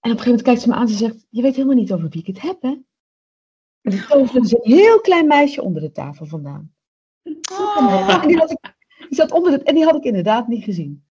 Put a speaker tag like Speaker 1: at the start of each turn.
Speaker 1: En op een gegeven moment kijkt ze me aan en ze zegt: Je weet helemaal niet over wie ik het heb, hè? En toen toverde ze een heel klein meisje onder de Oh, tafel vandaan. En die had ik, die zat onder het, en die had ik inderdaad niet gezien.